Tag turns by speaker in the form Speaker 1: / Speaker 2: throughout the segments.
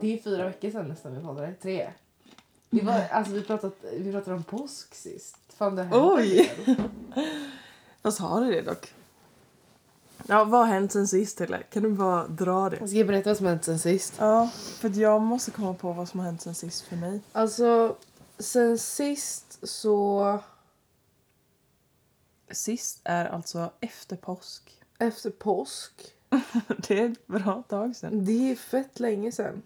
Speaker 1: Det är fyra veckor sedan nästan vi poddade. Tre. Det var, alltså, vi, pratat, vi pratade om påsk sist. Fan, det har hänt
Speaker 2: Oj.
Speaker 1: en del.
Speaker 2: Fast har du det dock? Ja, vad har hänt sen sist eller? Kan du bara dra det?
Speaker 1: Jag ska berätta vad som hänt sen sist.
Speaker 2: Ja, för att jag måste komma på vad som har hänt sen sist för mig.
Speaker 1: Alltså, sen sist så...
Speaker 2: Sist är alltså efter påsk.
Speaker 1: Efter påsk.
Speaker 2: Det är ett bra tag sen.
Speaker 1: Det är fett länge sen.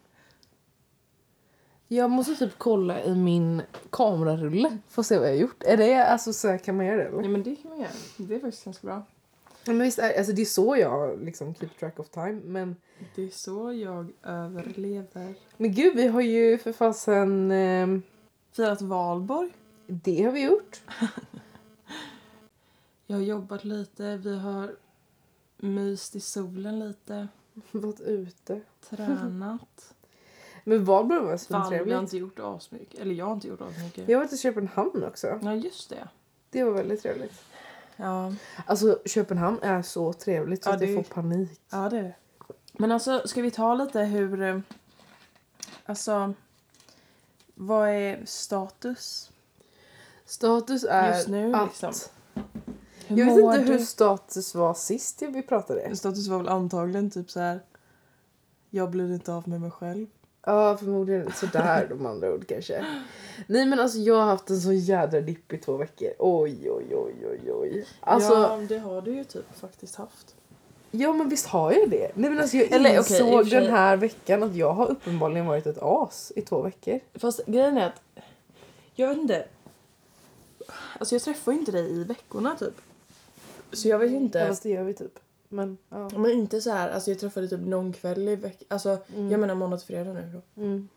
Speaker 1: Jag måste typ kolla i min kamerarulle. Får se vad jag har gjort. Är det, alltså, så här, kan man göra det? Eller?
Speaker 2: Ja, men det kan man göra. Det är faktiskt ganska bra.
Speaker 1: Ja, Men visst, är- alltså, det är så jag liksom keep track of time. Men,
Speaker 2: Det är så jag överlever.
Speaker 1: men gud, vi har ju för fasen... ehm,
Speaker 2: Firat valborg.
Speaker 1: det har vi gjort.
Speaker 2: Jag har jobbat lite. Vi har myst i solen lite.
Speaker 1: Varit ute.
Speaker 2: Tränat.
Speaker 1: Men Valborg var
Speaker 2: Fan, vi har
Speaker 1: svintrevligt.
Speaker 2: inte gjort asmycket. Eller jag har inte gjort asmycket.
Speaker 1: Jag var till Köpenhamn också.
Speaker 2: Ja, just det.
Speaker 1: Det var väldigt trevligt.
Speaker 2: Ja.
Speaker 1: Alltså Köpenhamn är så trevligt så
Speaker 2: Ja,
Speaker 1: att jag
Speaker 2: det-
Speaker 1: får panik.
Speaker 2: ja, det är det. Men alltså, ska vi ta lite hur... eh, Alltså, vad är status
Speaker 1: Status är
Speaker 2: just nu?
Speaker 1: att...
Speaker 2: Liksom? Hur
Speaker 1: Jag vet inte
Speaker 2: mår
Speaker 1: hur
Speaker 2: du?
Speaker 1: status var sist vi pratade.
Speaker 2: Status var väl antagligen typ så här... Jag blir inte av med mig själv.
Speaker 1: Ja, förmodligen sådär de andra ord kanske. Nej men alltså jag har haft en så jädra dipp i två veckor. Oj, oj, oj, oj, oj. Alltså,
Speaker 2: ja,
Speaker 1: ja,
Speaker 2: det har du ju typ faktiskt haft.
Speaker 1: men visst har jag det? Nej men alltså jag
Speaker 2: Eller, okej, i och
Speaker 1: insåg
Speaker 2: för sig-
Speaker 1: den här veckan att jag har uppenbarligen varit ett as i två veckor.
Speaker 2: Fast grejen är att... Jag vet inte. Alltså jag träffar ju inte dig i veckorna typ. Så jag vet inte.
Speaker 1: Ja, fast det gör vi typ. Men ja.
Speaker 2: Men inte så här, alltså jag träffade typ någon kväll i veckan. Alltså
Speaker 1: Mm.
Speaker 2: jag menar måndag till fredag nu då.
Speaker 1: Mm.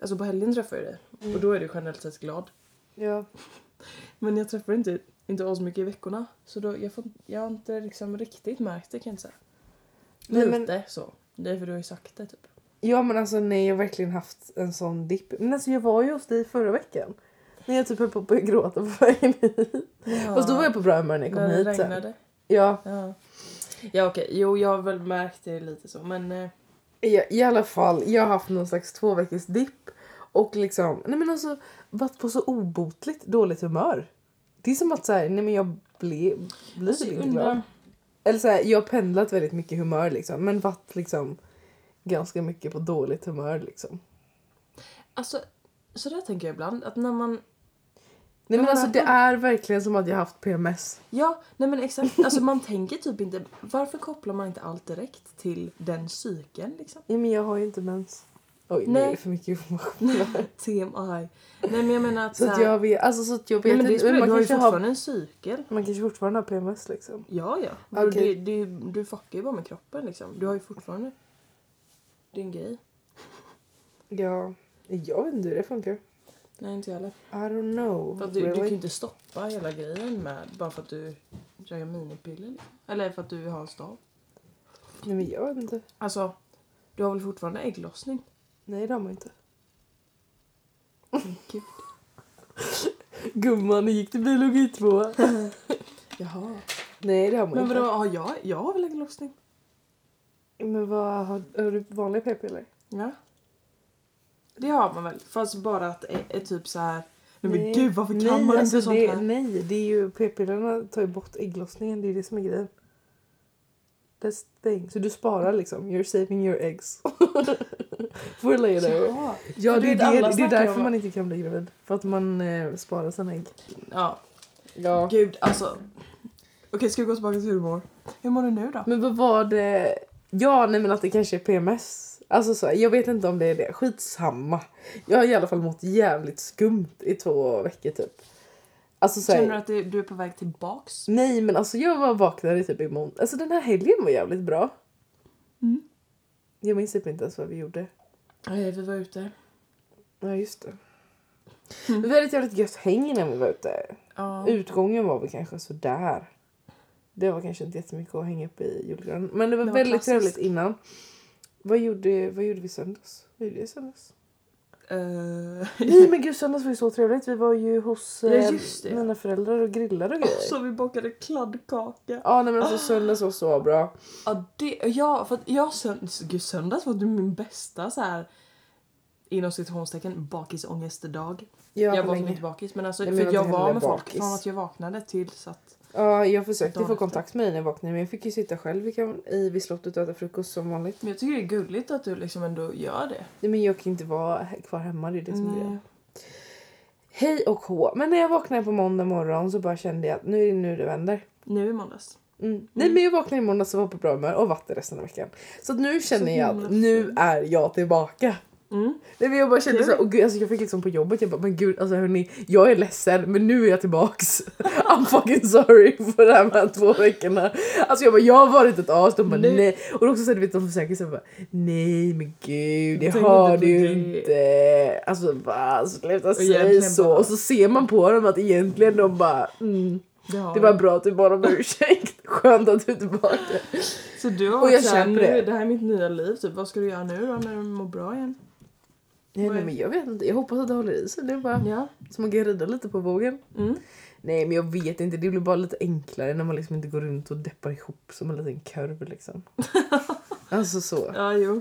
Speaker 2: Alltså på helgen träffar jag dig.
Speaker 1: Mm.
Speaker 2: Och då är du generellt sett glad.
Speaker 1: Ja.
Speaker 2: Men jag träffar inte, inte så mycket i veckorna. Så då, jag, får, jag har inte liksom riktigt märkt det kan jag inte säga.
Speaker 1: Nej,
Speaker 2: Lite
Speaker 1: men-
Speaker 2: så. Det är för du har ju sagt det typ.
Speaker 1: ja men alltså nej jag har verkligen haft en sån dipp. Men alltså jag var ju hos dig förra veckan. När jag typ höll på att börja gråta på vägen hit.
Speaker 2: Ja.
Speaker 1: Fast då var jag på typ. bra humör när jag kom
Speaker 2: När det
Speaker 1: hit sen.
Speaker 2: regnade.
Speaker 1: Ja,
Speaker 2: Ja. Ja okej, jo jag har väl märkt det lite så men... Eh,
Speaker 1: i, i alla fall. Jag har haft någon slags två veckors dipp. Och liksom, nej men alltså varit på så obotligt dåligt humör. Det är som att så här, nej men jag ble, blir
Speaker 2: alltså, jag
Speaker 1: inte
Speaker 2: undrar-
Speaker 1: glad. Eller så här, jag har pendlat väldigt mycket humör liksom. Men varit liksom ganska mycket på dåligt humör liksom.
Speaker 2: Alltså, så där tänker jag ibland. Att när man...
Speaker 1: Nej
Speaker 2: Men
Speaker 1: men alltså
Speaker 2: man-
Speaker 1: det är verkligen som att jag har haft PMS.
Speaker 2: Ja, nej men exakt. Alltså man tänker typ inte... Varför kopplar man inte allt direkt till den cykeln liksom?
Speaker 1: Ja, men jag har ju inte mens. Oj, nu
Speaker 2: Nej.
Speaker 1: är det för mycket information. här.
Speaker 2: TMI. Nej men jag menar att
Speaker 1: så att
Speaker 2: här-
Speaker 1: jag vet, alltså, så att jag
Speaker 2: Nej,
Speaker 1: vet
Speaker 2: men det
Speaker 1: inte.
Speaker 2: spelar,
Speaker 1: Men
Speaker 2: du
Speaker 1: man,
Speaker 2: har ju
Speaker 1: kanske har,
Speaker 2: fortfarande en cykel.
Speaker 1: man kanske fortfarande har PMS liksom.
Speaker 2: Ja, ja. Du-
Speaker 1: Okej.
Speaker 2: Du, du, du fuckar ju bara med kroppen liksom. Du har ju fortfarande din grej.
Speaker 1: Ja, jag vet inte hur det funkar.
Speaker 2: Nej, inte jag heller.
Speaker 1: I don't know.
Speaker 2: För att du, du kan ju
Speaker 1: really.
Speaker 2: inte stoppa hela grejen med bara för att du röjer minipiller. liksom. Eller för att du har en stav.
Speaker 1: Nej men jag vet inte.
Speaker 2: Alltså, du har väl fortfarande ägglossning?
Speaker 1: Nej det har man inte.
Speaker 2: Gud.
Speaker 1: Gumman, nu gick det biologi två.
Speaker 2: Jaha.
Speaker 1: Nej det har man
Speaker 2: Men
Speaker 1: inte.
Speaker 2: vadå, har jag, jag har väl ägglossning?
Speaker 1: Men vad, har, har du vanliga p-piller?
Speaker 2: Ja. Det har man väl? Fast bara att är, är typ så här. Nej men
Speaker 1: Nej.
Speaker 2: gud varför kan
Speaker 1: Nej,
Speaker 2: man
Speaker 1: alltså,
Speaker 2: inte sånt
Speaker 1: det,
Speaker 2: här?
Speaker 1: Nej, det är ju p-pillerna tar ju bort ägglossningen. Det är det som är grejen. That's the thing. Så du sparar liksom. You're saving your eggs. For later.
Speaker 2: Jaha.
Speaker 1: Ja,
Speaker 2: För
Speaker 1: det
Speaker 2: du
Speaker 1: är,
Speaker 2: vet, alla
Speaker 1: det, det är
Speaker 2: snackar
Speaker 1: därför
Speaker 2: om-
Speaker 1: man inte kan bli gravid. För att man eh, sparar sina ägg.
Speaker 2: Ja,
Speaker 1: Ja.
Speaker 2: gud alltså. Okej ska vi gå tillbaka till hur du mår? Hur mår du nu då?
Speaker 1: Men vad var det? Ja, nej men att det kanske är PMS. Alltså så, här, jag vet inte om det är det. Skitsamma. Jag har i alla fall mått jävligt skumt i två veckor typ. Alltså så här,
Speaker 2: Känner du att det, du är på väg tillbaks?
Speaker 1: Nej men alltså jag var vaknade typ i måndag. Alltså den här helgen var jävligt bra.
Speaker 2: Mm.
Speaker 1: Jag minns typ inte ens vad vi gjorde.
Speaker 2: Nej vi var ute.
Speaker 1: Ja just det. Vi hade ett jävligt gött häng när vi var ute.
Speaker 2: Ja.
Speaker 1: Utgången var väl kanske sådär. Det var kanske inte jättemycket att hänga upp i julgranen. Men det var,
Speaker 2: Det var
Speaker 1: väldigt
Speaker 2: klassiskt.
Speaker 1: trevligt innan. Vad gjorde, vad gjorde vi söndags? Vad gjorde jag söndags?
Speaker 2: Eh,
Speaker 1: Nej men gud söndags var ju så trevligt. Vi var ju hos
Speaker 2: Ja,
Speaker 1: eh,
Speaker 2: just det.
Speaker 1: mina föräldrar och grillade och grejer.
Speaker 2: Så vi bakade kladdkaka.
Speaker 1: Ja nej men alltså söndags var så bra.
Speaker 2: Ja, det, ja, för att jag söndags, gud, söndags var du min bästa så här inom citationstecken bakisångestdag.
Speaker 1: Ja,
Speaker 2: jag var
Speaker 1: länge.
Speaker 2: som inte bakis men alltså
Speaker 1: Nej, men
Speaker 2: för
Speaker 1: jag
Speaker 2: jag,
Speaker 1: var inte
Speaker 2: var
Speaker 1: heller
Speaker 2: med folk
Speaker 1: bakis.
Speaker 2: från att jag vaknade till så att
Speaker 1: Ja, jag försökte
Speaker 2: Dagen
Speaker 1: få
Speaker 2: efter.
Speaker 1: kontakt med dig när jag vaknade men jag fick ju sitta själv i, kam- i vid slottet och äta frukost som vanligt.
Speaker 2: men jag tycker det är gulligt att du liksom ändå gör det. Mm.
Speaker 1: Nej, men jag kan inte vara he- kvar hemma, det är det som är
Speaker 2: Nej.
Speaker 1: grejen. Hej och hå. Men när jag vaknade på måndag morgon så bara kände jag att nu är det nu det vänder.
Speaker 2: Nu i måndags.
Speaker 1: Mm. Nej men jag vaknade i måndags och var på bra humör och vatten resten av veckan. Så att nu känner jag
Speaker 2: himla
Speaker 1: att nu är jag tillbaka.
Speaker 2: Mm.
Speaker 1: Nej, men jag bara kände
Speaker 2: Kul.
Speaker 1: så här, åh gud, alltså jag fick liksom på jobbet, jag bara men gud alltså hörni, jag är ledsen men nu är jag tillbaks. I'm fucking sorry för de här med två veckorna. Alltså jag bara jag har varit ett as, de bara
Speaker 2: Nu-
Speaker 1: nej. Och då också så här, du vet de försäkringskassan bara nej men gud det
Speaker 2: Tänk
Speaker 1: har
Speaker 2: inte
Speaker 1: du
Speaker 2: på
Speaker 1: ju
Speaker 2: det.
Speaker 1: inte. Alltså bara sluta säga
Speaker 2: egentligen
Speaker 1: så.
Speaker 2: bara-
Speaker 1: Och så ser man på dem att egentligen de bara mm,
Speaker 2: har
Speaker 1: det var
Speaker 2: vi.
Speaker 1: bra att du bad om ursäkt, skönt att du är tillbaka.
Speaker 2: Så du har
Speaker 1: Och jag
Speaker 2: varit såhär,
Speaker 1: köper
Speaker 2: nu,
Speaker 1: det.
Speaker 2: det här är mitt nya liv typ. Vad ska du göra nu då när du mår bra igen?
Speaker 1: Nej,
Speaker 2: Vad
Speaker 1: nej
Speaker 2: är-
Speaker 1: men jag vet inte, jag hoppas att det håller i sig. Det är bara
Speaker 2: Ja.
Speaker 1: så man kan rida lite på vågen.
Speaker 2: Mm.
Speaker 1: Nej men jag vet inte, det blir bara lite enklare när man liksom inte går runt och deppar ihop som en liten kurv liksom. alltså så.
Speaker 2: Ja, jo.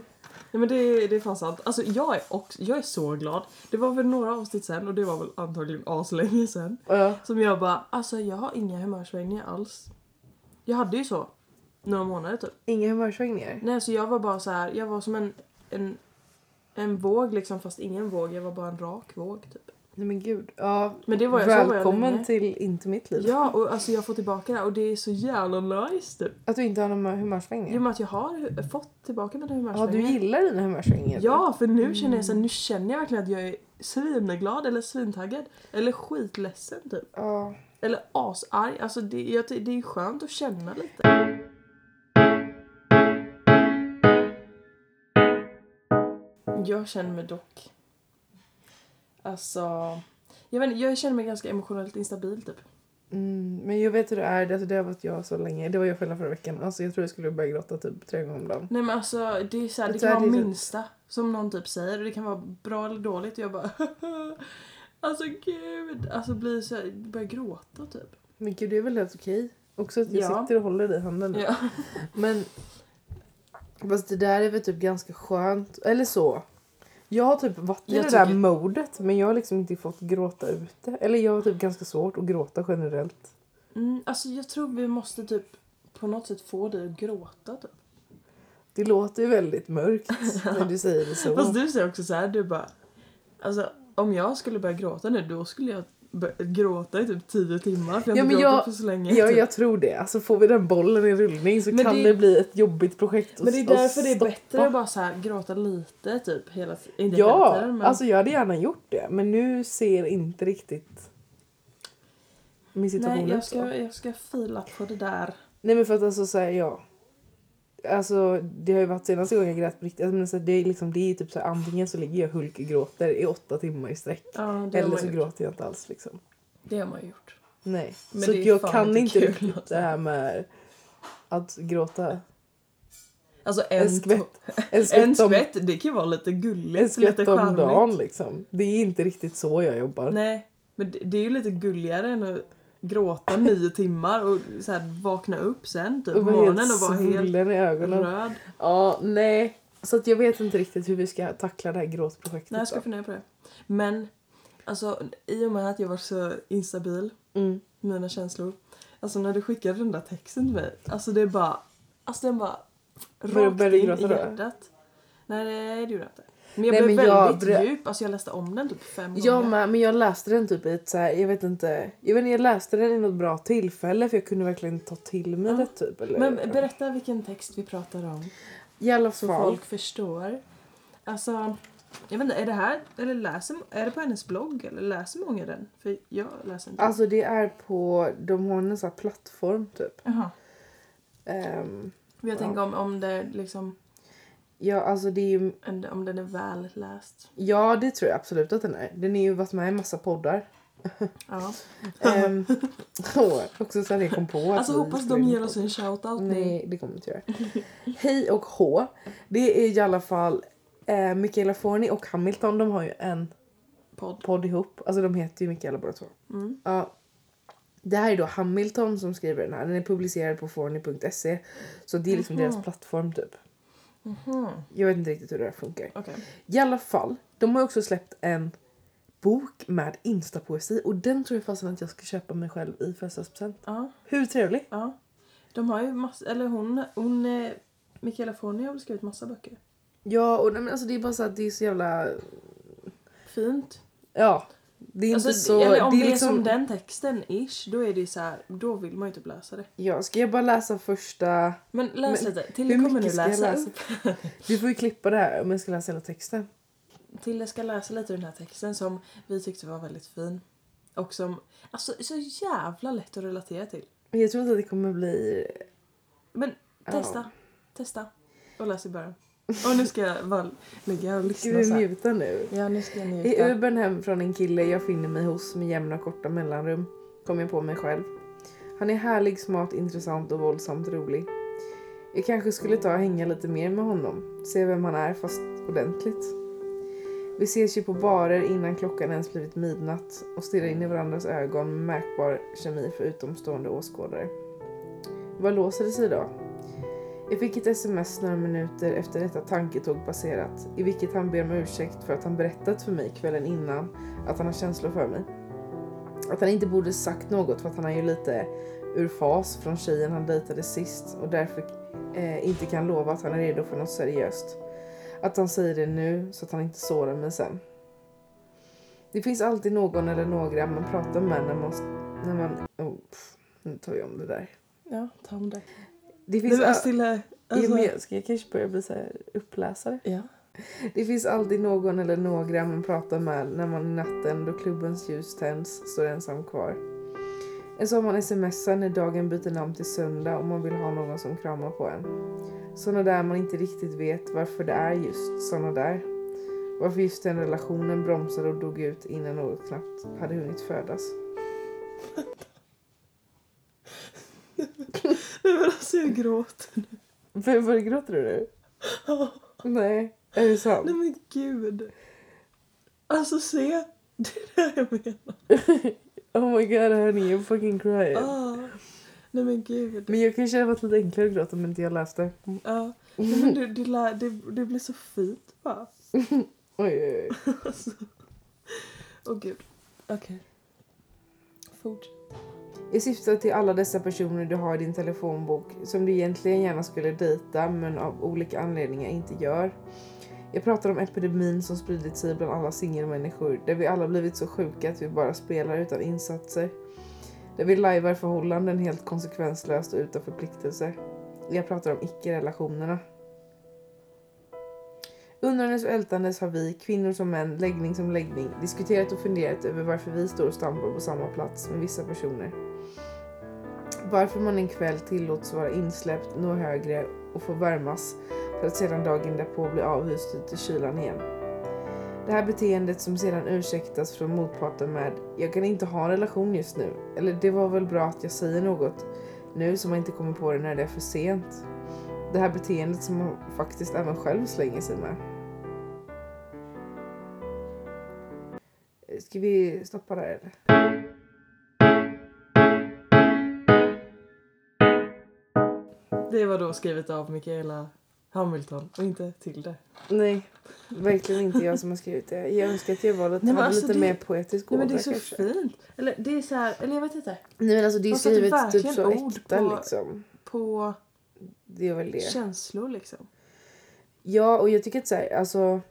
Speaker 2: Nej, men det, det är fan sant. Alltså, jag, är också, jag är så glad. Det var väl några avsnitt sen, och det var väl antagligen aslänge sen,
Speaker 1: Ja.
Speaker 2: som jag bara alltså jag har inga humörsvängningar alls. Jag hade ju så några månader typ.
Speaker 1: Inga humörsvängningar.
Speaker 2: Nej, så jag var bara så här, jag var som en, en, en våg liksom fast ingen våg, jag var bara en rak våg typ.
Speaker 1: Nej men gud. Ja.
Speaker 2: Men det var jag, så var jag
Speaker 1: Välkommen
Speaker 2: länge.
Speaker 1: till inte mitt liv.
Speaker 2: Ja, och alltså jag får tillbaka det här och det är så jävla nice typ.
Speaker 1: Att du inte har några
Speaker 2: I och
Speaker 1: humörsvängningar.
Speaker 2: med att jag har hu- fått tillbaka mina
Speaker 1: Ja
Speaker 2: humörsvängningar.
Speaker 1: du gillar Mm. dina humörsvängningar.
Speaker 2: Ja, för nu känner jag så här, nu känner jag verkligen att jag är svinglad eller svintaggad. Eller skitledsen typ.
Speaker 1: Ja.
Speaker 2: Eller asarg. Alltså det, jag, ty- det är skönt att känna lite. Jag känner mig dock... Alltså... Jag, vet, inte, jag känner mig ganska emotionellt instabil typ.
Speaker 1: Mm, men jag vet hur det är, alltså, det har varit jag så länge. Det var jag själv förra veckan. Alltså jag tror jag skulle börja gråta typ tre gånger om dagen.
Speaker 2: Nej men alltså det är så här, det
Speaker 1: Så
Speaker 2: kan
Speaker 1: här,
Speaker 2: vara
Speaker 1: det är så-
Speaker 2: minsta som någon typ säger och det kan vara bra eller dåligt och jag bara Alltså gud, alltså blir så här, börjar gråta typ.
Speaker 1: Men gud det är väl helt okej. Också att jag
Speaker 2: Ja.
Speaker 1: sitter och håller dig i handen nu.
Speaker 2: Ja.
Speaker 1: Men fast det där är väl typ ganska skönt. Eller så. Jag har typ varit i
Speaker 2: Jag
Speaker 1: det där
Speaker 2: tycker-
Speaker 1: modet men jag har liksom inte fått gråta ute. Eller jag har typ ganska svårt att gråta generellt.
Speaker 2: Mm, alltså jag tror vi måste typ på något sätt få dig att gråta typ.
Speaker 1: Det låter ju väldigt mörkt när du säger det så.
Speaker 2: Fast du säger också så här, du bara Alltså om jag skulle börja gråta nu då skulle jag börja gråta i typ 10 timmar för jag
Speaker 1: Ja,
Speaker 2: har inte
Speaker 1: men
Speaker 2: gråtit
Speaker 1: jag-
Speaker 2: för så länge.
Speaker 1: Ja,
Speaker 2: typ.
Speaker 1: jag tror det. Alltså får vi den bollen i rullning så
Speaker 2: Men
Speaker 1: kan det...
Speaker 2: det-
Speaker 1: bli ett jobbigt projekt. att-
Speaker 2: Men det är
Speaker 1: att
Speaker 2: därför det är
Speaker 1: stoppa.
Speaker 2: bättre att bara så här, gråta lite typ hela t- inte hela
Speaker 1: Ja,
Speaker 2: tiden, men...
Speaker 1: alltså jag hade gärna gjort det. Men nu ser inte riktigt min situation
Speaker 2: Nej,
Speaker 1: ut
Speaker 2: jag
Speaker 1: så.
Speaker 2: ska, jag ska fila på det där.
Speaker 1: Nej men för att alltså säga ja. Alltså det har ju varit senaste gången jag grät på riktigt. Alltså, men så här, det är liksom det är typ så här, antingen så ligger jag och hulkgråter i åtta timmar i sträck.
Speaker 2: Ja, det har
Speaker 1: Eller
Speaker 2: man
Speaker 1: så
Speaker 2: gjort.
Speaker 1: gråter jag inte alls liksom.
Speaker 2: Det har man ju gjort.
Speaker 1: Nej.
Speaker 2: Men
Speaker 1: så
Speaker 2: det är
Speaker 1: jag
Speaker 2: fan
Speaker 1: kan
Speaker 2: inte
Speaker 1: inte
Speaker 2: kul
Speaker 1: riktigt
Speaker 2: alltså.
Speaker 1: det här med att gråta.
Speaker 2: Alltså en,
Speaker 1: En skvätt. En
Speaker 2: to- En
Speaker 1: skvätt, om,
Speaker 2: skvätt, det kan ju vara lite gulligt.
Speaker 1: en skvätt
Speaker 2: lite
Speaker 1: om
Speaker 2: charmigt.
Speaker 1: dagen liksom. Det är inte riktigt så jag jobbar.
Speaker 2: Nej, men det, det är ju lite gulligare än att gråta nio timmar och så här, vakna upp sen typ, på
Speaker 1: och vara
Speaker 2: morgonen
Speaker 1: helt
Speaker 2: och vara helt
Speaker 1: svullen i ögonen.
Speaker 2: röd.
Speaker 1: Ja, nej. Så att jag vet inte riktigt hur vi ska tackla det här gråtprojektet.
Speaker 2: Nej, jag ska
Speaker 1: då.
Speaker 2: fundera på det. Men alltså, i och med att jag var så instabil
Speaker 1: Mm.
Speaker 2: mina känslor. Alltså när du skickade den där texten till mig. Alltså det är bara... Alltså den bara...
Speaker 1: Började-
Speaker 2: Rakt in
Speaker 1: började
Speaker 2: i
Speaker 1: du gråta då?
Speaker 2: hjärtat. Nej det gjorde jag inte. Men jag
Speaker 1: Nej,
Speaker 2: blev
Speaker 1: men jag
Speaker 2: väldigt
Speaker 1: brö-
Speaker 2: djup. Alltså jag läste om den typ fem
Speaker 1: Jag
Speaker 2: gånger.
Speaker 1: med, men jag läste den typ i ett så här, jag vet inte, jag vet inte, jag läste den i något bra tillfälle för jag kunde verkligen ta till mig
Speaker 2: Ja.
Speaker 1: det typ. Eller,
Speaker 2: Men berätta vilken text vi pratar om.
Speaker 1: I alla
Speaker 2: Så
Speaker 1: fall.
Speaker 2: folk förstår. Alltså... Jag vet inte, är det här... Eller läser... Är det på hennes blogg? Eller läser många den? För jag läser inte.
Speaker 1: Alltså det är på, de har en sån här plattform typ.
Speaker 2: Jaha.
Speaker 1: Ehm,
Speaker 2: Men Jag tänker om, om det liksom...
Speaker 1: ja alltså det är ju,
Speaker 2: en- Om den är väl läst.
Speaker 1: ja det tror jag absolut att den är. Den har ju varit med i massa poddar.
Speaker 2: Ja.
Speaker 1: Ehm, åh, också sen jag kom på att
Speaker 2: Alltså
Speaker 1: vi
Speaker 2: hoppas
Speaker 1: skulle
Speaker 2: de
Speaker 1: in
Speaker 2: ger
Speaker 1: på-
Speaker 2: oss en shoutout nu.
Speaker 1: Nej, det kommer inte göra. Hej och H. Det är i alla fall Eh, Michaela Forni och Hamilton de har ju en
Speaker 2: Podd.
Speaker 1: podd ihop. Alltså de heter ju Michaela båda två.
Speaker 2: Mm.
Speaker 1: Ja. Det här är då Hamilton som skriver den här. Den är publicerad på forni.se. Så det är liksom deras plattform typ.
Speaker 2: Mhm.
Speaker 1: Jag vet inte riktigt hur det här funkar.
Speaker 2: Okej.
Speaker 1: I alla fall, de har ju också släppt en bok med instapoesi och den tror jag fasen att jag ska köpa mig själv i födelsedagspresent.
Speaker 2: Ja,
Speaker 1: Hur trevlig?
Speaker 2: ja. De har ju massa, eller hon, hon eh, Michaela Forni har väl skrivit massa böcker.
Speaker 1: Ja, och nej, men alltså det är bara så att det är så jävla...
Speaker 2: Fint.
Speaker 1: Ja. Det är
Speaker 2: Alltså,
Speaker 1: inte så...
Speaker 2: eller om det är,
Speaker 1: liksom-
Speaker 2: som den texten ish, då är det ju så här, då vill man ju typ läsa det.
Speaker 1: Ja, ska jag bara läsa första...
Speaker 2: Men läs
Speaker 1: Men
Speaker 2: lite. Till
Speaker 1: hur
Speaker 2: kommer nu
Speaker 1: mycket ska
Speaker 2: läsa,
Speaker 1: jag läsa?
Speaker 2: upp.
Speaker 1: Du får ju klippa det här om jag ska läsa hela texten.
Speaker 2: Tilde ska läsa lite ur den här texten som vi tyckte var väldigt fin. Och som, alltså så jävla lätt att relatera till.
Speaker 1: Men jag tror inte att det kommer bli...
Speaker 2: Men
Speaker 1: Ja.
Speaker 2: testa, testa. Och läs i början. Och nu ska jag bara ligga och
Speaker 1: Ska
Speaker 2: lyssna
Speaker 1: vi
Speaker 2: så här.
Speaker 1: njuta nu?
Speaker 2: Ja nu ska jag
Speaker 1: I
Speaker 2: njuta.
Speaker 1: Ubern hem från en kille jag finner mig hos med jämna och korta mellanrum kom jag på mig själv. Han är härlig, smart, intressant och våldsamt rolig. Jag kanske skulle ta och hänga lite mer med honom, se vem han är fast ordentligt. Vi ses ju på barer innan klockan ens blivit midnatt och stirrar in i varandras ögon med märkbar kemi för utomstående åskådare. Vad låser det sig då? Jag fick ett sms några minuter efter detta tanketåg passerat i vilket han ber om ursäkt för att han berättat för mig kvällen innan att han har känslor för mig. Att han inte borde sagt något för att han är ju lite ur fas från tjejen han dejtade sist och därför eh, inte kan lova att han är redo för något seriöst. Att han säger det nu så att han inte sårar mig sen. Det finns alltid någon eller några man pratar med när man... När man oh, pff, nu tar jag om det där.
Speaker 2: Ja, ta om det.
Speaker 1: Det
Speaker 2: Nu
Speaker 1: finns...
Speaker 2: är
Speaker 1: a-
Speaker 2: stilla.
Speaker 1: Ja,
Speaker 2: Alltså,
Speaker 1: men jag, ska jag kanske börja bli så här uppläsare?
Speaker 2: ja.
Speaker 1: Det finns alltid någon eller några man pratar med när man i natten då klubbens ljus tänds står ensam kvar. En som man smsar när dagen byter namn till söndag och man vill ha någon som kramar på en. Såna där man inte riktigt vet varför det är just såna där. Varför just den relationen bromsade och dog ut innan något knappt hade hunnit födas.
Speaker 2: Nej men alltså jag gråter.
Speaker 1: Varför gråter du nu?
Speaker 2: Ja.
Speaker 1: Nej, är det sant?
Speaker 2: Nej men gud. Alltså se. Det är det jag menar.
Speaker 1: Oh my god honey, I'm fucking crying.
Speaker 2: Ah. Nej men gud.
Speaker 1: Men jag kanske hade varit lite enklare att gråta om inte jag läste. Oj,
Speaker 2: Ja. Nej, men det, det, lär, det, det blir så fint va?
Speaker 1: oj, oj.
Speaker 2: Alltså. Åh gud. Okej. Fortsätt.
Speaker 1: I syfte till alla dessa personer du har i din telefonbok som du egentligen gärna skulle dejta men av olika anledningar inte gör. Jag pratar om epidemin som spridit sig bland alla singelmänniskor där vi alla blivit så sjuka att vi bara spelar utan insatser. Där vi lajvar förhållanden helt konsekvenslöst och utan förpliktelser. Jag pratar om icke-relationerna. Undrandes och ältandes har vi, kvinnor som män, läggning som läggning, diskuterat och funderat över varför vi står och stampar på samma plats med vissa personer. Varför man en kväll tillåts vara insläppt, nå högre och få värmas för att sedan dagen därpå bli avhyst ut i kylan igen. Det här beteendet som sedan ursäktas från motparten med “jag kan inte ha en relation just nu” eller “det var väl bra att jag säger något nu som man inte kommer på det när det är för sent”. Det här beteendet som man faktiskt även själv slänger sig med. Ska vi stoppa där eller?
Speaker 2: Det var då skrivet av Michaela Hamilton och inte Tilde.
Speaker 1: Nej, verkligen inte jag som har skrivit det. Jag önskar att jag var lite,
Speaker 2: Nej, men
Speaker 1: hade
Speaker 2: alltså
Speaker 1: lite
Speaker 2: det-
Speaker 1: mer poetisk
Speaker 2: Nej men
Speaker 1: ådra
Speaker 2: det är så
Speaker 1: kanske.
Speaker 2: fint. Eller det är så här, eller jag vet inte.
Speaker 1: Nej men alltså det är
Speaker 2: Man sätter
Speaker 1: skrivet typ
Speaker 2: verkligen
Speaker 1: så
Speaker 2: ord
Speaker 1: äkta
Speaker 2: på-
Speaker 1: liksom.
Speaker 2: På
Speaker 1: Det är väl det.
Speaker 2: känslor liksom.
Speaker 1: Ja och jag tycker att så här, alltså.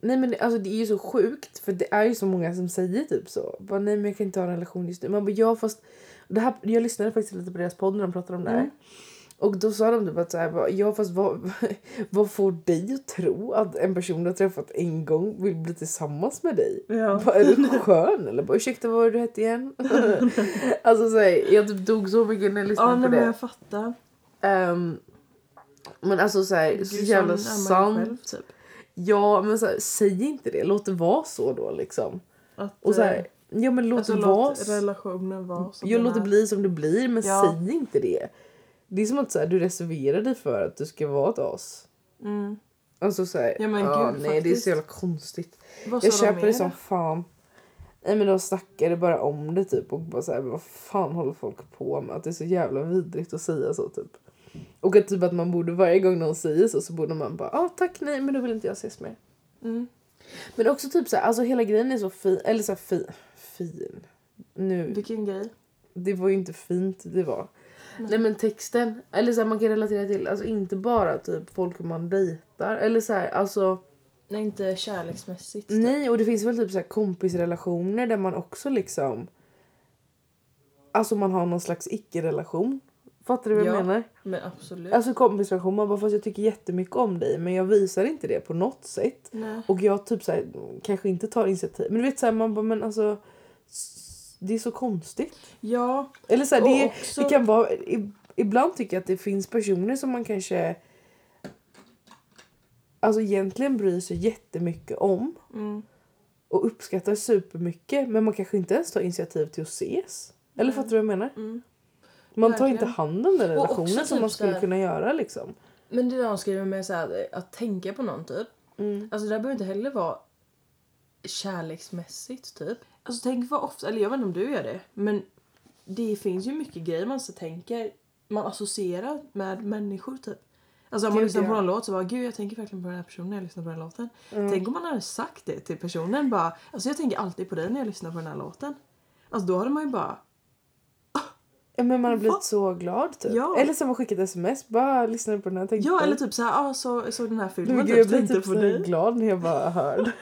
Speaker 1: Nej men alltså det är ju så sjukt för det är ju så många som säger typ så. Bara, nej men jag kan inte ha en relation just nu. Man bara, ja fast. Det här, jag lyssnade faktiskt lite på deras podd när de pratade om det här.
Speaker 2: Mm.
Speaker 1: Och då sa de typ att så här, bara, ja fast vad, vad får dig att tro att en person du har träffat en gång vill bli tillsammans med dig?
Speaker 2: Ja.
Speaker 1: Bara, är du skön eller? Bara, Ursäkta vad var det du hette igen? alltså så här, jag typ dog så mycket när jag lyssnade
Speaker 2: Ja
Speaker 1: på
Speaker 2: nej,
Speaker 1: det.
Speaker 2: men jag fattar.
Speaker 1: Ehm, men alltså så här, så
Speaker 2: Gud,
Speaker 1: jävla
Speaker 2: sån är man ju själv,
Speaker 1: sant.
Speaker 2: typ.
Speaker 1: Ja men så här, säg inte det, låt det vara så då liksom.
Speaker 2: Att,
Speaker 1: Och så
Speaker 2: eh,
Speaker 1: här, ja men låt
Speaker 2: alltså,
Speaker 1: det vara.
Speaker 2: låt relationen vara som
Speaker 1: Ja,
Speaker 2: den
Speaker 1: låt det
Speaker 2: är.
Speaker 1: bli som det blir men
Speaker 2: Ja.
Speaker 1: säg inte det. Det är som att så här, du reserverar dig för att du ska vara ett as.
Speaker 2: Mm.
Speaker 1: Alltså såhär,
Speaker 2: Ja,
Speaker 1: ja,
Speaker 2: men gud,
Speaker 1: nej det är
Speaker 2: faktiskt.
Speaker 1: så jävla konstigt.
Speaker 2: Vad
Speaker 1: jag
Speaker 2: sa de
Speaker 1: köper
Speaker 2: mer?
Speaker 1: det som fan. Nej men de snackade bara om det typ och bara såhär, vad fan håller folk på med? Att det är så jävla vidrigt att säga så typ. Och att typ att man borde varje gång någon säger så så borde man bara, ah tack nej men då vill inte jag ses mer.
Speaker 2: Mm.
Speaker 1: Men också typ såhär, alltså hela grejen är så fin, eller såhär fi, fin. Nu,
Speaker 2: Vilken grej.
Speaker 1: det var ju inte fint det var. Nej men texten, eller såhär man kan relatera till, alltså inte bara typ folk man dejtar eller såhär alltså
Speaker 2: Nej, inte kärleksmässigt.
Speaker 1: Nej, och det finns väl typ så här kompisrelationer där man också liksom... Alltså man har någon slags icke-relation. Fattar du vad jag
Speaker 2: Ja.
Speaker 1: menar?
Speaker 2: Men absolut.
Speaker 1: Alltså kompisrelation, man bara fast jag tycker jättemycket om dig men jag visar inte det på något sätt.
Speaker 2: Nej.
Speaker 1: Och jag typ så här, kanske inte tar initiativ. Men du vet så här, man bara men alltså... s- Det är så konstigt.
Speaker 2: Ja,
Speaker 1: Eller så här,
Speaker 2: Och
Speaker 1: det,
Speaker 2: också-
Speaker 1: det kan vara... i- Ibland tycker jag att det finns personer som man kanske... Alltså egentligen bryr sig jättemycket om
Speaker 2: mm.
Speaker 1: och uppskattar supermycket men man kanske inte ens tar initiativ till att ses. Eller fattar du vad jag menar?
Speaker 2: Mm.
Speaker 1: Man tar
Speaker 2: Verkligen.
Speaker 1: inte hand om den
Speaker 2: Och också
Speaker 1: relationen som
Speaker 2: typ
Speaker 1: man
Speaker 2: så
Speaker 1: skulle
Speaker 2: här-
Speaker 1: kunna göra liksom.
Speaker 2: Men det där hon skriver med så här, att tänka på någon typ.
Speaker 1: Mm.
Speaker 2: Alltså det där behöver inte heller vara kärleksmässigt typ. Alltså tänk vad ofta, eller jag vet inte om du gör det, men det finns ju mycket grejer man så tänker, man associerar med människor typ. Alltså om man
Speaker 1: Gud,
Speaker 2: lyssnar på
Speaker 1: ja.
Speaker 2: någon låt så bara gud jag tänker verkligen på den här personen när jag lyssnar på den här låten. Tänk om man hade sagt det till personen bara, alltså jag tänker alltid på dig när jag lyssnar på den här låten. Alltså då hade man ju bara,
Speaker 1: Ja, Men man har blivit så glad typ.
Speaker 2: Ja.
Speaker 1: Eller som har skickat sms, bara lyssnade på den här tänkte
Speaker 2: ja
Speaker 1: på
Speaker 2: eller
Speaker 1: den.
Speaker 2: typ såhär, ah, så, såg den här
Speaker 1: Men
Speaker 2: filmen
Speaker 1: gud, jag
Speaker 2: typ,
Speaker 1: blir
Speaker 2: tänkte
Speaker 1: typ
Speaker 2: på
Speaker 1: så här
Speaker 2: dig.
Speaker 1: glad när jag bara hör.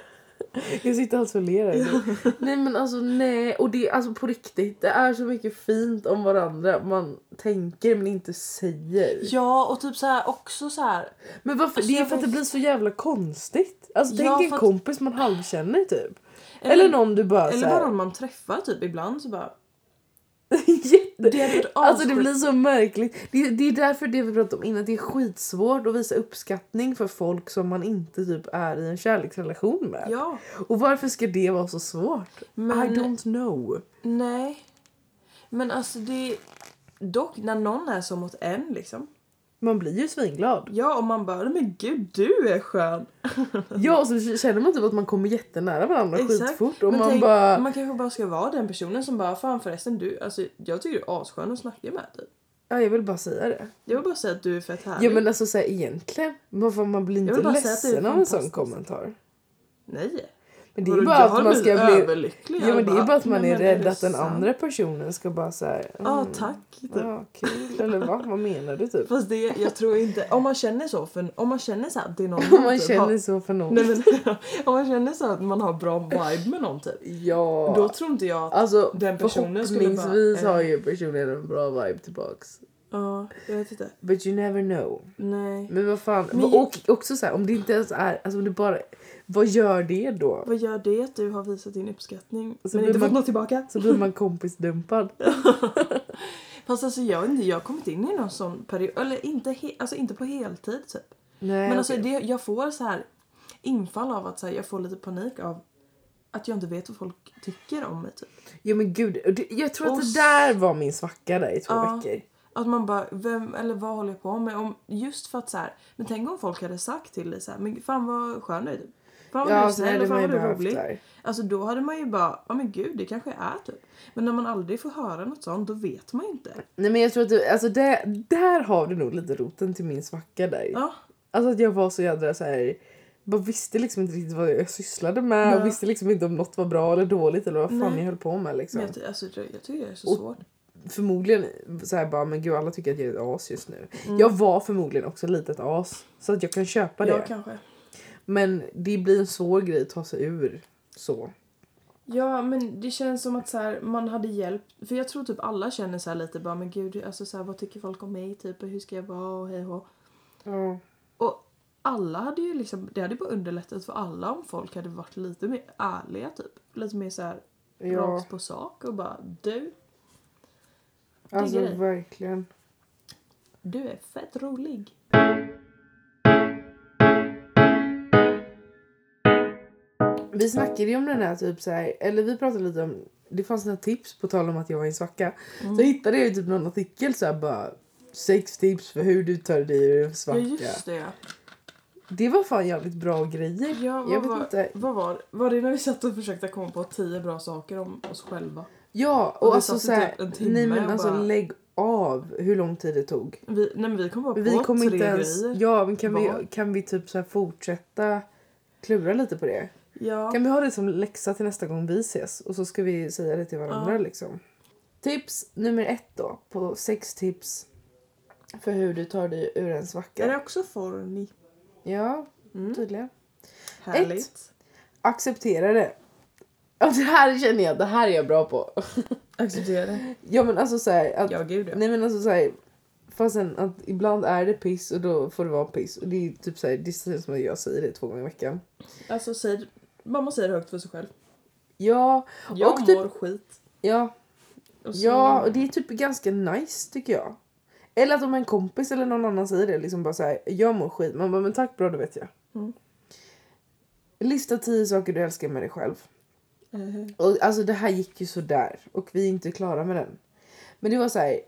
Speaker 1: Jag sitter alltså och ler. här nu. Nej men alltså nej. Och det alltså på riktigt. Det är så mycket fint om varandra. Man tänker men inte säger.
Speaker 2: Ja och typ såhär också såhär,
Speaker 1: Men varför?
Speaker 2: Alltså,
Speaker 1: det är
Speaker 2: jag
Speaker 1: för att det
Speaker 2: vet-
Speaker 1: blir så jävla konstigt. Alltså
Speaker 2: Ja,
Speaker 1: tänk
Speaker 2: för
Speaker 1: en
Speaker 2: att-
Speaker 1: kompis man halvkänner typ. Eller någon du bara
Speaker 2: Eller bara
Speaker 1: såhär...
Speaker 2: någon man träffar typ ibland så bara...
Speaker 1: Jätte...
Speaker 2: Det hade varit
Speaker 1: Alltså det
Speaker 2: asskit.
Speaker 1: blir så märkligt. Det, det är därför det vi pratade om innan, det är skitsvårt att visa uppskattning för folk som man inte typ är i en kärleksrelation med.
Speaker 2: Ja,
Speaker 1: Och varför ska det vara så svårt?
Speaker 2: Men-
Speaker 1: I don't know.
Speaker 2: nej. Men alltså det... Dock, när någon är så mot en liksom.
Speaker 1: Man blir ju svinglad.
Speaker 2: Ja, och man bara men gud du är skön.
Speaker 1: Ja, och så känner man typ att man kommer jättenära varandra skitfort. Och
Speaker 2: Men
Speaker 1: man
Speaker 2: tänk,
Speaker 1: bara...
Speaker 2: man kanske bara ska vara den personen som bara fan förresten du, alltså jag tycker du är asskön att snacka med dig.
Speaker 1: Ja, jag vill bara säga det.
Speaker 2: Jag vill bara säga att du är fett härlig.
Speaker 1: Ja men alltså såhär egentligen, man, får- man blir
Speaker 2: vill
Speaker 1: inte
Speaker 2: bara säga att det är
Speaker 1: ledsen av en sån
Speaker 2: fantastiskt.
Speaker 1: kommentar.
Speaker 2: Nej.
Speaker 1: Men det är
Speaker 2: Vadå,
Speaker 1: bara
Speaker 2: jag
Speaker 1: att
Speaker 2: har
Speaker 1: man
Speaker 2: blivit
Speaker 1: ska bli...
Speaker 2: överlycklig.
Speaker 1: Ja
Speaker 2: Jag
Speaker 1: men det är bara att man
Speaker 2: nej,
Speaker 1: är
Speaker 2: men
Speaker 1: rädd
Speaker 2: det
Speaker 1: att den
Speaker 2: sant?
Speaker 1: andra Mm. personen ska bara såhär...
Speaker 2: Ja, ah, tack. Typ.
Speaker 1: Ja, kul. Eller vad? Vad menar du typ?
Speaker 2: Fast det, jag tror inte, om man känner så, för, om man känner så att det är någon
Speaker 1: Om man
Speaker 2: typ
Speaker 1: känner
Speaker 2: har-
Speaker 1: så för någon.
Speaker 2: Nej, men, om man känner så att man har bra vibe med någon typ.
Speaker 1: Ja.
Speaker 2: Då tror inte jag att...
Speaker 1: Alltså
Speaker 2: den personen skulle bara,
Speaker 1: förhoppningsvis
Speaker 2: eh.
Speaker 1: har ju personen en bra vibe tillbaks.
Speaker 2: Ja, jag vet inte. Mm.
Speaker 1: But you never know.
Speaker 2: Nej.
Speaker 1: Men vad fan.
Speaker 2: Men-
Speaker 1: Och också såhär om det inte ens är, alltså om det bara, vad gör det då?
Speaker 2: Vad gör det att du har visat din uppskattning
Speaker 1: Alltså,
Speaker 2: men
Speaker 1: blir
Speaker 2: inte fått
Speaker 1: man-
Speaker 2: något tillbaka?
Speaker 1: Så blir man kompisdumpad.
Speaker 2: Fast alltså jag, vet inte, jag har kommit in i någon sån period, eller inte, he, alltså, inte på heltid typ.
Speaker 1: Nej,
Speaker 2: Men alltså
Speaker 1: okej.
Speaker 2: det, jag får så här infall av att så här, jag får lite panik av att jag inte vet vad folk tycker om mig typ.
Speaker 1: Ja men gud, och det- jag tror att
Speaker 2: Och s-
Speaker 1: det där var min svacka där i två
Speaker 2: Ja.
Speaker 1: veckor.
Speaker 2: Att man bara, vem eller vad håller jag på med? Om, just för att så här, men tänk om folk hade sagt till dig så här, men fan vad skön du är typ. Fan vad du är
Speaker 1: Ja, alltså, så
Speaker 2: snäll
Speaker 1: hade
Speaker 2: och fan
Speaker 1: man ju
Speaker 2: vad du är
Speaker 1: behövt
Speaker 2: rolig.
Speaker 1: där.
Speaker 2: Alltså då hade man ju bara, ja men gud det kanske är typ. Men när man aldrig får höra något sånt då vet man ju inte.
Speaker 1: Nej men jag tror att du, alltså det, där har du nog lite roten till min svacka där.
Speaker 2: Ja,
Speaker 1: Alltså att jag var så jädra så här. Bara visste liksom inte riktigt vad jag sysslade med och
Speaker 2: Nej.
Speaker 1: visste liksom inte om något var bra eller dåligt eller vad fan
Speaker 2: Nej.
Speaker 1: jag höll på med liksom.
Speaker 2: men jag, ty- alltså, jag, jag tycker det är så
Speaker 1: Och-
Speaker 2: svårt.
Speaker 1: Förmodligen så här bara men gud alla tycker att jag är ett as just nu.
Speaker 2: Mm.
Speaker 1: Jag var förmodligen också lite ett as så att jag kan köpa det.
Speaker 2: Jag kanske.
Speaker 1: Men det blir en svår grej att ta sig ur så.
Speaker 2: Ja men det känns som att så här, man hade hjälp. För jag tror typ alla känner så här lite bara men gud alltså så här, vad tycker folk om mig typ och hur ska jag vara och hej och
Speaker 1: Ja.
Speaker 2: Och alla hade ju liksom, det hade bara underlättat för alla om folk hade varit lite mer ärliga typ. Lite mer så här
Speaker 1: ja.
Speaker 2: rakt på sak och bara du,
Speaker 1: Alltså
Speaker 2: grej.
Speaker 1: verkligen.
Speaker 2: du är fett rolig.
Speaker 1: Vi snackade ju om den här typ så här, eller vi pratade lite om, det fanns några tips på tal om att jag var i en svacka.
Speaker 2: Mm.
Speaker 1: Så hittade jag ju typ någon artikel så här bara sex tips för hur du tar dig ur en
Speaker 2: Ja
Speaker 1: svacka.
Speaker 2: just det ja.
Speaker 1: Det var fan jävligt bra grejer.
Speaker 2: Ja, vad,
Speaker 1: Jag vet
Speaker 2: var,
Speaker 1: inte.
Speaker 2: Vad var, var det när vi satt och försökte komma på tio bra saker om oss själva?
Speaker 1: Ja,
Speaker 2: Och
Speaker 1: och
Speaker 2: vi
Speaker 1: alltså
Speaker 2: satt i
Speaker 1: så här,
Speaker 2: typ en timme
Speaker 1: nej men
Speaker 2: och
Speaker 1: alltså
Speaker 2: bara-
Speaker 1: lägg av hur lång tid det tog.
Speaker 2: Vi, nej men vi kom bara på
Speaker 1: Vi kommer
Speaker 2: tre
Speaker 1: inte ens...
Speaker 2: grejer.
Speaker 1: Ja, men kan vi,
Speaker 2: Var?
Speaker 1: kan vi typ så här fortsätta klura lite på det?
Speaker 2: Ja.
Speaker 1: Kan vi ha det som läxa till nästa gång vi ses? Och så ska vi säga det till varandra
Speaker 2: Ja.
Speaker 1: liksom. Tips nummer ett då, på sex tips för hur du tar dig ur en
Speaker 2: Är det
Speaker 1: svacka.
Speaker 2: också forni?
Speaker 1: Ja,
Speaker 2: Mm.
Speaker 1: tydligen.
Speaker 2: Härligt.
Speaker 1: Acceptera det. Ja, det här känner jag, det här är jag bra på.
Speaker 2: Acceptera det.
Speaker 1: Ja men alltså såhär, att
Speaker 2: Ja, gud ja.
Speaker 1: Nej men alltså såhär, fastän att ibland är det piss och då får det vara piss. Och det är typ såhär, det känns som att jag säger det två gånger i veckan.
Speaker 2: Alltså, säg, mamma säger det högt för sig själv.
Speaker 1: Ja,
Speaker 2: Jag
Speaker 1: Och typ-
Speaker 2: mår skit.
Speaker 1: ja,
Speaker 2: Och så-
Speaker 1: ja och det är typ ganska nice tycker jag. Eller att om en kompis eller någon annan säger det liksom bara såhär, jag mår skit. Man bara, men tack bra det vet jag.
Speaker 2: Mm.
Speaker 1: Lista tio saker du älskar med dig själv.
Speaker 2: Eh,
Speaker 1: Och alltså det här gick ju sådär och vi är inte klara med den. Men det var så här.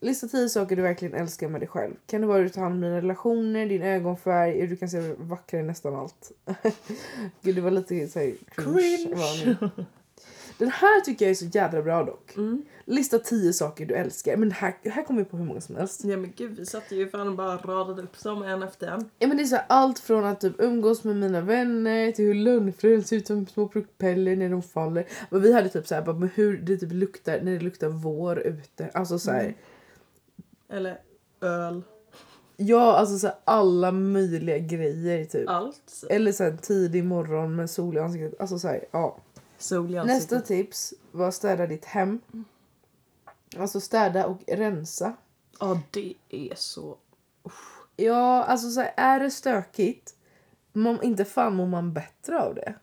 Speaker 1: Lista tio saker du verkligen älskar med dig själv. Kan det vara hur du tar hand om dina relationer, din ögonfärg, hur du kan se vacker i nästan allt. Gud det var lite så här,
Speaker 2: Cringe.
Speaker 1: varning. Den här tycker jag är så jädra bra dock.
Speaker 2: Mm.
Speaker 1: Lista tio saker du älskar. Men här, här kommer vi på hur många som helst.
Speaker 2: Ja men gud, vi satt ju fan och bara radade upp dem en efter en.
Speaker 1: Ja, men det är så här, allt från att typ umgås med mina vänner till hur lönnfrön ser ut som små propeller när de faller. Men vi hade typ så här, bara, men hur det typ luktar när det luktar vår ute. Alltså så här,
Speaker 2: Eller öl.
Speaker 1: ja alltså så här, alla möjliga grejer typ.
Speaker 2: Allt.
Speaker 1: Eller så här, tidig morgon med sol i ansiktet. Alltså så här, ja.
Speaker 2: Sol i ansiktet.
Speaker 1: Nästa tips var städa ditt hem. Alltså städa och rensa.
Speaker 2: Ja, det är så...
Speaker 1: Ja, alltså så här, är det stökigt, man, inte fan mår man bättre av det.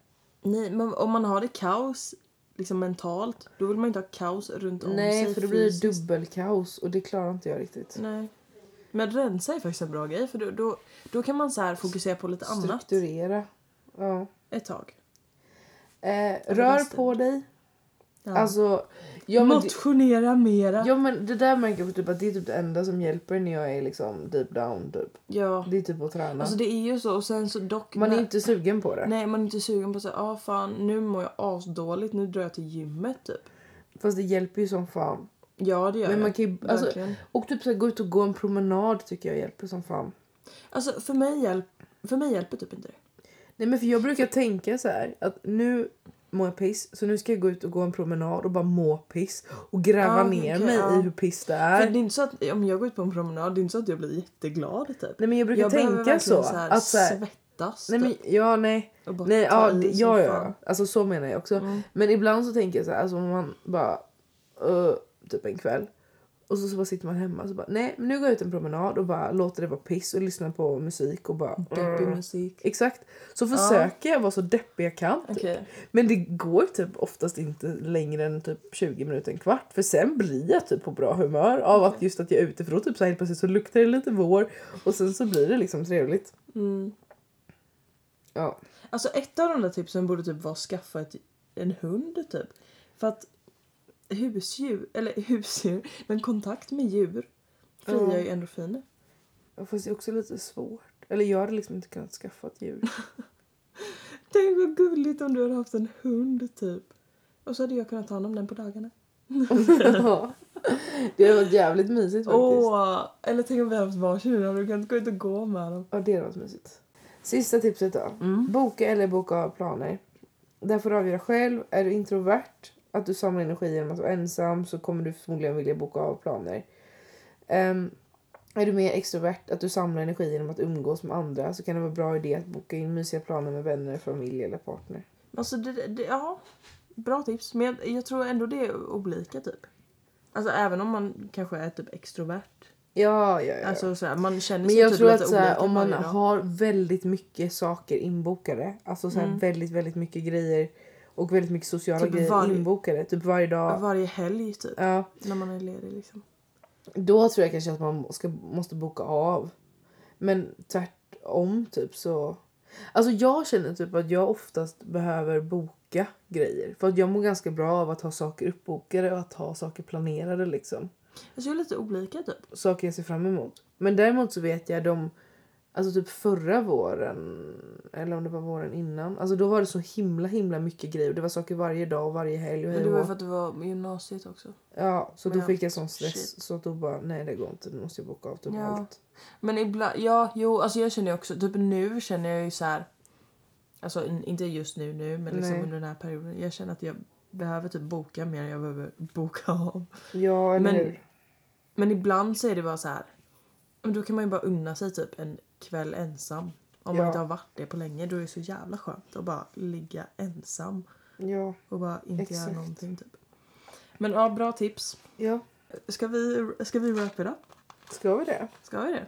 Speaker 2: Nej, men om man har det kaos liksom mentalt, då vill man inte ha kaos runt om sig
Speaker 1: Nej, för då blir det
Speaker 2: fysiskt.
Speaker 1: dubbelkaos och det klarar inte jag riktigt.
Speaker 2: Nej. Men rensa är faktiskt en bra grej för då, då, då kan man så här fokusera på lite annat
Speaker 1: Strukturera. Ja.
Speaker 2: ett tag.
Speaker 1: Eh, rör
Speaker 2: resten.
Speaker 1: på dig.
Speaker 2: Ja.
Speaker 1: Alltså, ja, men det,
Speaker 2: Motionera mera. Ja.
Speaker 1: ja, men det där märker jag typ att det är typ det enda som hjälper när jag är liksom deep down. Typ. Det är typ att träna.
Speaker 2: Alltså det är ju så och sen så dock...
Speaker 1: man är
Speaker 2: nej,
Speaker 1: inte sugen på det.
Speaker 2: nej, man är inte sugen på att säga ah, fan nu mår jag asdåligt, nu drar jag till gymmet typ.
Speaker 1: Fast det hjälper ju som fan.
Speaker 2: Ja det gör
Speaker 1: Men
Speaker 2: jag.
Speaker 1: man kan ju, alltså,
Speaker 2: Verkligen.
Speaker 1: och typ så här, gå ut och gå en promenad tycker jag hjälper som fan.
Speaker 2: Alltså för mig, hjälp, för mig hjälper typ inte det.
Speaker 1: Nej men för jag brukar tänka så här att nu mår jag piss så nu ska jag gå ut och gå en promenad och bara må piss och gräva
Speaker 2: Ja,
Speaker 1: ner
Speaker 2: Ah, okej,
Speaker 1: mig
Speaker 2: ja.
Speaker 1: i hur piss det
Speaker 2: För
Speaker 1: är.
Speaker 2: det är inte så att om jag går ut på en promenad, det är inte så att jag blir jätteglad typ.
Speaker 1: Nej men jag brukar
Speaker 2: jag behöver
Speaker 1: tänka
Speaker 2: verkligen
Speaker 1: så.
Speaker 2: så här,
Speaker 1: att så här,
Speaker 2: svettas
Speaker 1: nej men
Speaker 2: typ,
Speaker 1: ja nej.
Speaker 2: och bara
Speaker 1: nej
Speaker 2: ta
Speaker 1: ja,
Speaker 2: i
Speaker 1: det,
Speaker 2: som
Speaker 1: ja, ja,
Speaker 2: fan.
Speaker 1: ja. Alltså så menar jag också.
Speaker 2: Mm.
Speaker 1: Men ibland så tänker jag så här, alltså om man bara uh, typ en kväll och så, så bara sitter man hemma och så bara nej men nu går jag ut en promenad och bara låter det vara piss och lyssnar på musik och bara
Speaker 2: Deppig
Speaker 1: mm.
Speaker 2: musik.
Speaker 1: Exakt. Så försöker jag vara så deppig jag kan. typ.
Speaker 2: Okej.
Speaker 1: Men det går typ oftast inte längre än typ 20 minuter, en kvart. För sen blir jag typ på bra humör av att just att jag är ute. För då typ så här, helt plötsligt så luktar det lite vår och sen så blir det liksom trevligt.
Speaker 2: Mm.
Speaker 1: Ja.
Speaker 2: Alltså ett av de där tipsen borde typ vara att skaffa ett, en hund typ. För att husdjur, eller husdjur, men kontakt med djur frigör
Speaker 1: Ja.
Speaker 2: ju endorfiner.
Speaker 1: Ja, Fast det är också lite svårt. Eller jag hade liksom inte kunnat skaffa ett djur.
Speaker 2: Tänk vad gulligt om du hade haft en hund typ. Och så hade jag kunnat ta hand om den på dagarna.
Speaker 1: Ja. det hade varit jävligt mysigt faktiskt.
Speaker 2: Åh! Eller tänk om vi hade haft varsin hund, hade du kunnat gå ut och gå med dem.
Speaker 1: Ja, det hade varit mysigt. Sista tipset då.
Speaker 2: Mm.
Speaker 1: Boka eller boka av planer. Där får du avgöra själv. Är du introvert, att du samlar energi genom att vara ensam så kommer du förmodligen vilja boka av planer. Ehm, är du mer extrovert, att du samlar energi genom att umgås med andra så kan det vara en bra idé att boka in mysiga planer med vänner, familj eller partner.
Speaker 2: Alltså det, det ja. Bra tips. Men jag, jag tror ändå det är olika typ. Alltså även om man kanske är typ extrovert.
Speaker 1: Ja, ja, ja.
Speaker 2: Alltså såhär, man känner
Speaker 1: men
Speaker 2: sig
Speaker 1: jag
Speaker 2: typ
Speaker 1: tror
Speaker 2: lite
Speaker 1: att såhär,
Speaker 2: olika
Speaker 1: om man
Speaker 2: varje dag.
Speaker 1: har väldigt mycket saker inbokade, alltså såhär, väldigt, väldigt mycket grejer och väldigt mycket sociala
Speaker 2: Mm. Typ
Speaker 1: grejer
Speaker 2: varje-
Speaker 1: inbokade, typ varje dag.
Speaker 2: Varje helg typ.
Speaker 1: ja.
Speaker 2: När man är ledig liksom.
Speaker 1: Då tror jag kanske att man ska, måste boka av. Men tvärtom typ så... Alltså jag känner typ att jag oftast behöver boka grejer. För att jag mår ganska bra av att ha saker uppbokade och att ha saker planerade liksom.
Speaker 2: Alltså jag är lite olika typ.
Speaker 1: Saker jag ser fram emot. Men däremot så vet jag de Alltså typ förra våren, eller om det var våren innan. Alltså då var det så himla himla mycket grejer. Det var saker varje dag och varje helg. Och
Speaker 2: Men
Speaker 1: hej
Speaker 2: det
Speaker 1: och
Speaker 2: var ju
Speaker 1: hå.
Speaker 2: för att du var med gymnasiet också.
Speaker 1: Ja, så då
Speaker 2: Ja.
Speaker 1: fick jag sån stress.
Speaker 2: Shit.
Speaker 1: Så då bara, nej det går inte. Nu måste jag boka av typ
Speaker 2: Ja.
Speaker 1: allt.
Speaker 2: Men ibland, ja, jo, alltså jag känner ju också, typ nu känner jag ju så här. Alltså in- inte just nu nu, men liksom
Speaker 1: Nej.
Speaker 2: under den här perioden. Jag känner att jag behöver typ boka mer än jag behöver boka av.
Speaker 1: Ja, eller
Speaker 2: Men-
Speaker 1: hur?
Speaker 2: Men ibland så är det bara så här. Men då kan man ju bara unna sig typ en kväll ensam. Om
Speaker 1: Ja.
Speaker 2: man inte har varit det på länge, då är det så jävla skönt att bara ligga ensam
Speaker 1: Ja.
Speaker 2: och bara inte göra
Speaker 1: Exakt.
Speaker 2: någonting typ. Men ja, bra tips.
Speaker 1: ja,
Speaker 2: Ska vi, ska vi wrap it up?
Speaker 1: ska vi det?
Speaker 2: Ska vi det?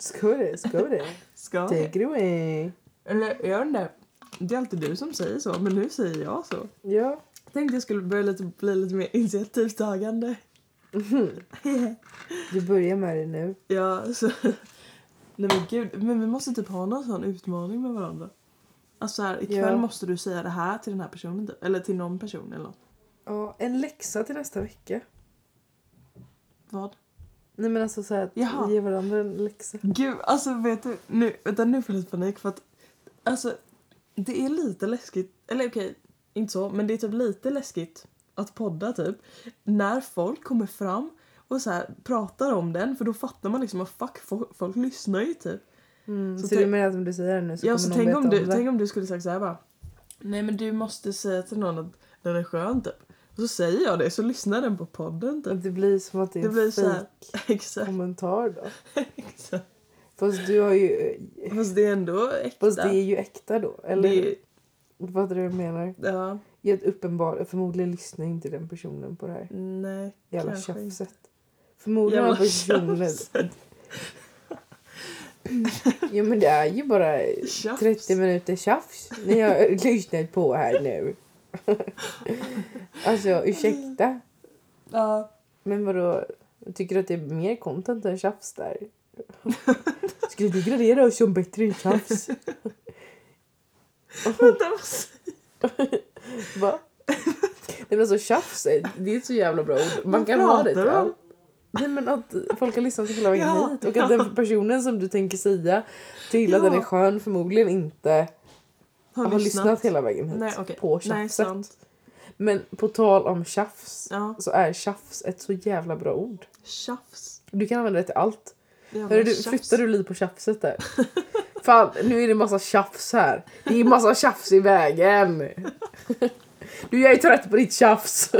Speaker 1: Ska vi det? Ska vi det?
Speaker 2: Ska vi?
Speaker 1: Take it away.
Speaker 2: Eller jag undrar, det är alltid du som säger så, men nu säger jag så.
Speaker 1: Ja.
Speaker 2: Tänkte jag skulle börja lite, bli lite mer initiativtagande.
Speaker 1: Du börjar med det nu.
Speaker 2: Ja, så... Nej men gud, men vi måste typ ha någon sån utmaning med varandra. Alltså här, ikväll
Speaker 1: Ja.
Speaker 2: måste du säga det här till den här personen typ, eller till någon person eller något.
Speaker 1: Ja, en läxa till nästa vecka.
Speaker 2: Vad?
Speaker 1: Nej men alltså så här, att
Speaker 2: Jaha.
Speaker 1: ge varandra en läxa.
Speaker 2: Gud, alltså vet du, nu, vänta nu får jag lite panik för att alltså det är lite läskigt, eller okej, inte så, men det är typ lite läskigt att podda typ när folk kommer fram och så här pratar om den för då fattar man liksom att fuck, fo- folk lyssnar ju typ.
Speaker 1: Mm, så
Speaker 2: Så
Speaker 1: du
Speaker 2: tänk-
Speaker 1: menar att om du säger det nu så
Speaker 2: ja,
Speaker 1: kommer
Speaker 2: så
Speaker 1: någon
Speaker 2: tänk
Speaker 1: veta
Speaker 2: om, du,
Speaker 1: det?
Speaker 2: tänk om du skulle sagt så här bara. Nej men du måste säga till någon att den är skön typ. Och så säger jag det så lyssnar den på podden typ.
Speaker 1: Att det blir som att det är
Speaker 2: Det blir
Speaker 1: en
Speaker 2: så här.
Speaker 1: fejk
Speaker 2: Exakt.
Speaker 1: kommentar då.
Speaker 2: exakt.
Speaker 1: Fast du har ju...
Speaker 2: Fast det är ändå äkta.
Speaker 1: Fast det är ju äkta då. Eller
Speaker 2: Det är-
Speaker 1: vad du menar?
Speaker 2: ja,
Speaker 1: Helt uppenbar, förmodligen lyssnar inte den personen på det här.
Speaker 2: nej.
Speaker 1: Jävla
Speaker 2: kanske inte.
Speaker 1: tjafset. Förmodligen har
Speaker 2: Jävla
Speaker 1: personen...
Speaker 2: tjafset.
Speaker 1: Jo men det är ju bara
Speaker 2: Tjafs.
Speaker 1: 30 minuter tjafs ni har lyssnat på här nu. alltså ursäkta.
Speaker 2: Ja.
Speaker 1: Men vadå? Tycker du att det är mer content än tjafs där? Skulle du gradera oss som bättre än tjafs?
Speaker 2: Vänta, vad säger-
Speaker 1: Va? Nej men alltså tjafs, är- det är ett så jävla bra ord. Man
Speaker 2: Vad
Speaker 1: kan ha det
Speaker 2: pratar
Speaker 1: till
Speaker 2: du om?
Speaker 1: allt. Nej men att folk har lyssnat hela vägen
Speaker 2: Ja,
Speaker 1: hit och
Speaker 2: ja.
Speaker 1: att den personen som du tänker säga till att
Speaker 2: Ja.
Speaker 1: den är skön förmodligen inte har, lyssnat. hela vägen hit
Speaker 2: Nej, okej.
Speaker 1: på
Speaker 2: Nej,
Speaker 1: tjafset.
Speaker 2: sant.
Speaker 1: men på tal om tjafs
Speaker 2: Ja.
Speaker 1: så är tjafs ett så jävla bra ord.
Speaker 2: Tjafs.
Speaker 1: Du kan använda det till allt.
Speaker 2: Jävla
Speaker 1: Hörru, du,
Speaker 2: tjafs.
Speaker 1: flyttar du liv på tjafset där? Fan, nu är det massa tjafs här. Det är massa tjafs i vägen. Du, jag är trött på ditt tjafs.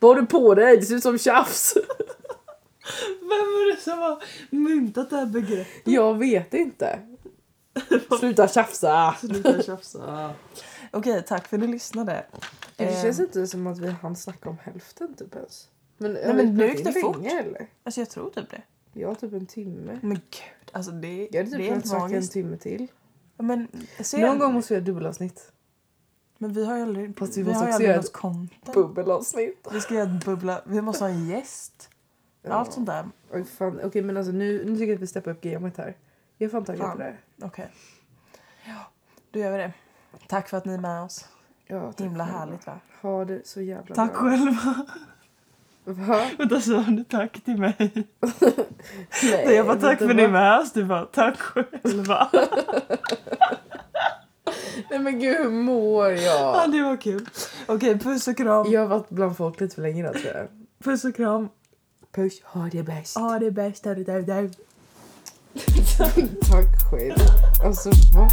Speaker 1: Vad har du på dig? Det ser ut som tjafs.
Speaker 2: Vem var det som har myntat det här begreppet?
Speaker 1: Jag vet inte. Sluta tjafsa.
Speaker 2: Sluta tjafsa. Okej, tack för att ni lyssnade.
Speaker 1: Det
Speaker 2: Eh,
Speaker 1: känns inte som att vi hann snacka om hälften typ ens. Men, eh,
Speaker 2: men
Speaker 1: har vi
Speaker 2: nu
Speaker 1: pratat
Speaker 2: gick det
Speaker 1: in
Speaker 2: fort.
Speaker 1: länge, eller?
Speaker 2: Alltså jag tror typ det.
Speaker 1: Jag har typ en timme.
Speaker 2: Men gud, alltså det,
Speaker 1: Jag hade typ
Speaker 2: det är
Speaker 1: kunnat
Speaker 2: helt
Speaker 1: snacka en
Speaker 2: magiskt.
Speaker 1: timme till.
Speaker 2: Men, se,
Speaker 1: Någon gång måste vi göra dubbelavsnitt.
Speaker 2: men vi har ju aldrig,
Speaker 1: Fast vi
Speaker 2: vi
Speaker 1: måste
Speaker 2: har ju
Speaker 1: också
Speaker 2: aldrig
Speaker 1: göra
Speaker 2: något content.
Speaker 1: Bubbelavsnitt.
Speaker 2: Vi ska göra ett bubbla, vi måste ha en gäst. Allt sånt där.
Speaker 1: Oj, fan. Okej men alltså nu, nu tycker jag att vi steppar upp gamet här. Jag är fan taggad
Speaker 2: Fan.
Speaker 1: på det. här.
Speaker 2: Okej. Ja, då gör vi det. Tack för att ni är med oss.
Speaker 1: Ja, tack
Speaker 2: Himla
Speaker 1: Typ själva.
Speaker 2: härligt va?
Speaker 1: Ha det så jävla
Speaker 2: Tack
Speaker 1: bra.
Speaker 2: själva.
Speaker 1: Va?
Speaker 2: Vänta sa du tack till mig?
Speaker 1: Nej,
Speaker 2: Nej, jag bara tack för att ni är
Speaker 1: det.
Speaker 2: med oss. Du bara tack själva.
Speaker 1: Nej men gud hur mår
Speaker 2: Ja,
Speaker 1: jag?
Speaker 2: det var kul. Okej, puss och kram.
Speaker 1: Jag har varit bland folk lite för länge idag tror jag.
Speaker 2: Puss och kram.
Speaker 1: Puss, ha det bäst.
Speaker 2: Ha det bäst. där, där, där.
Speaker 1: Tack själv. Alltså va?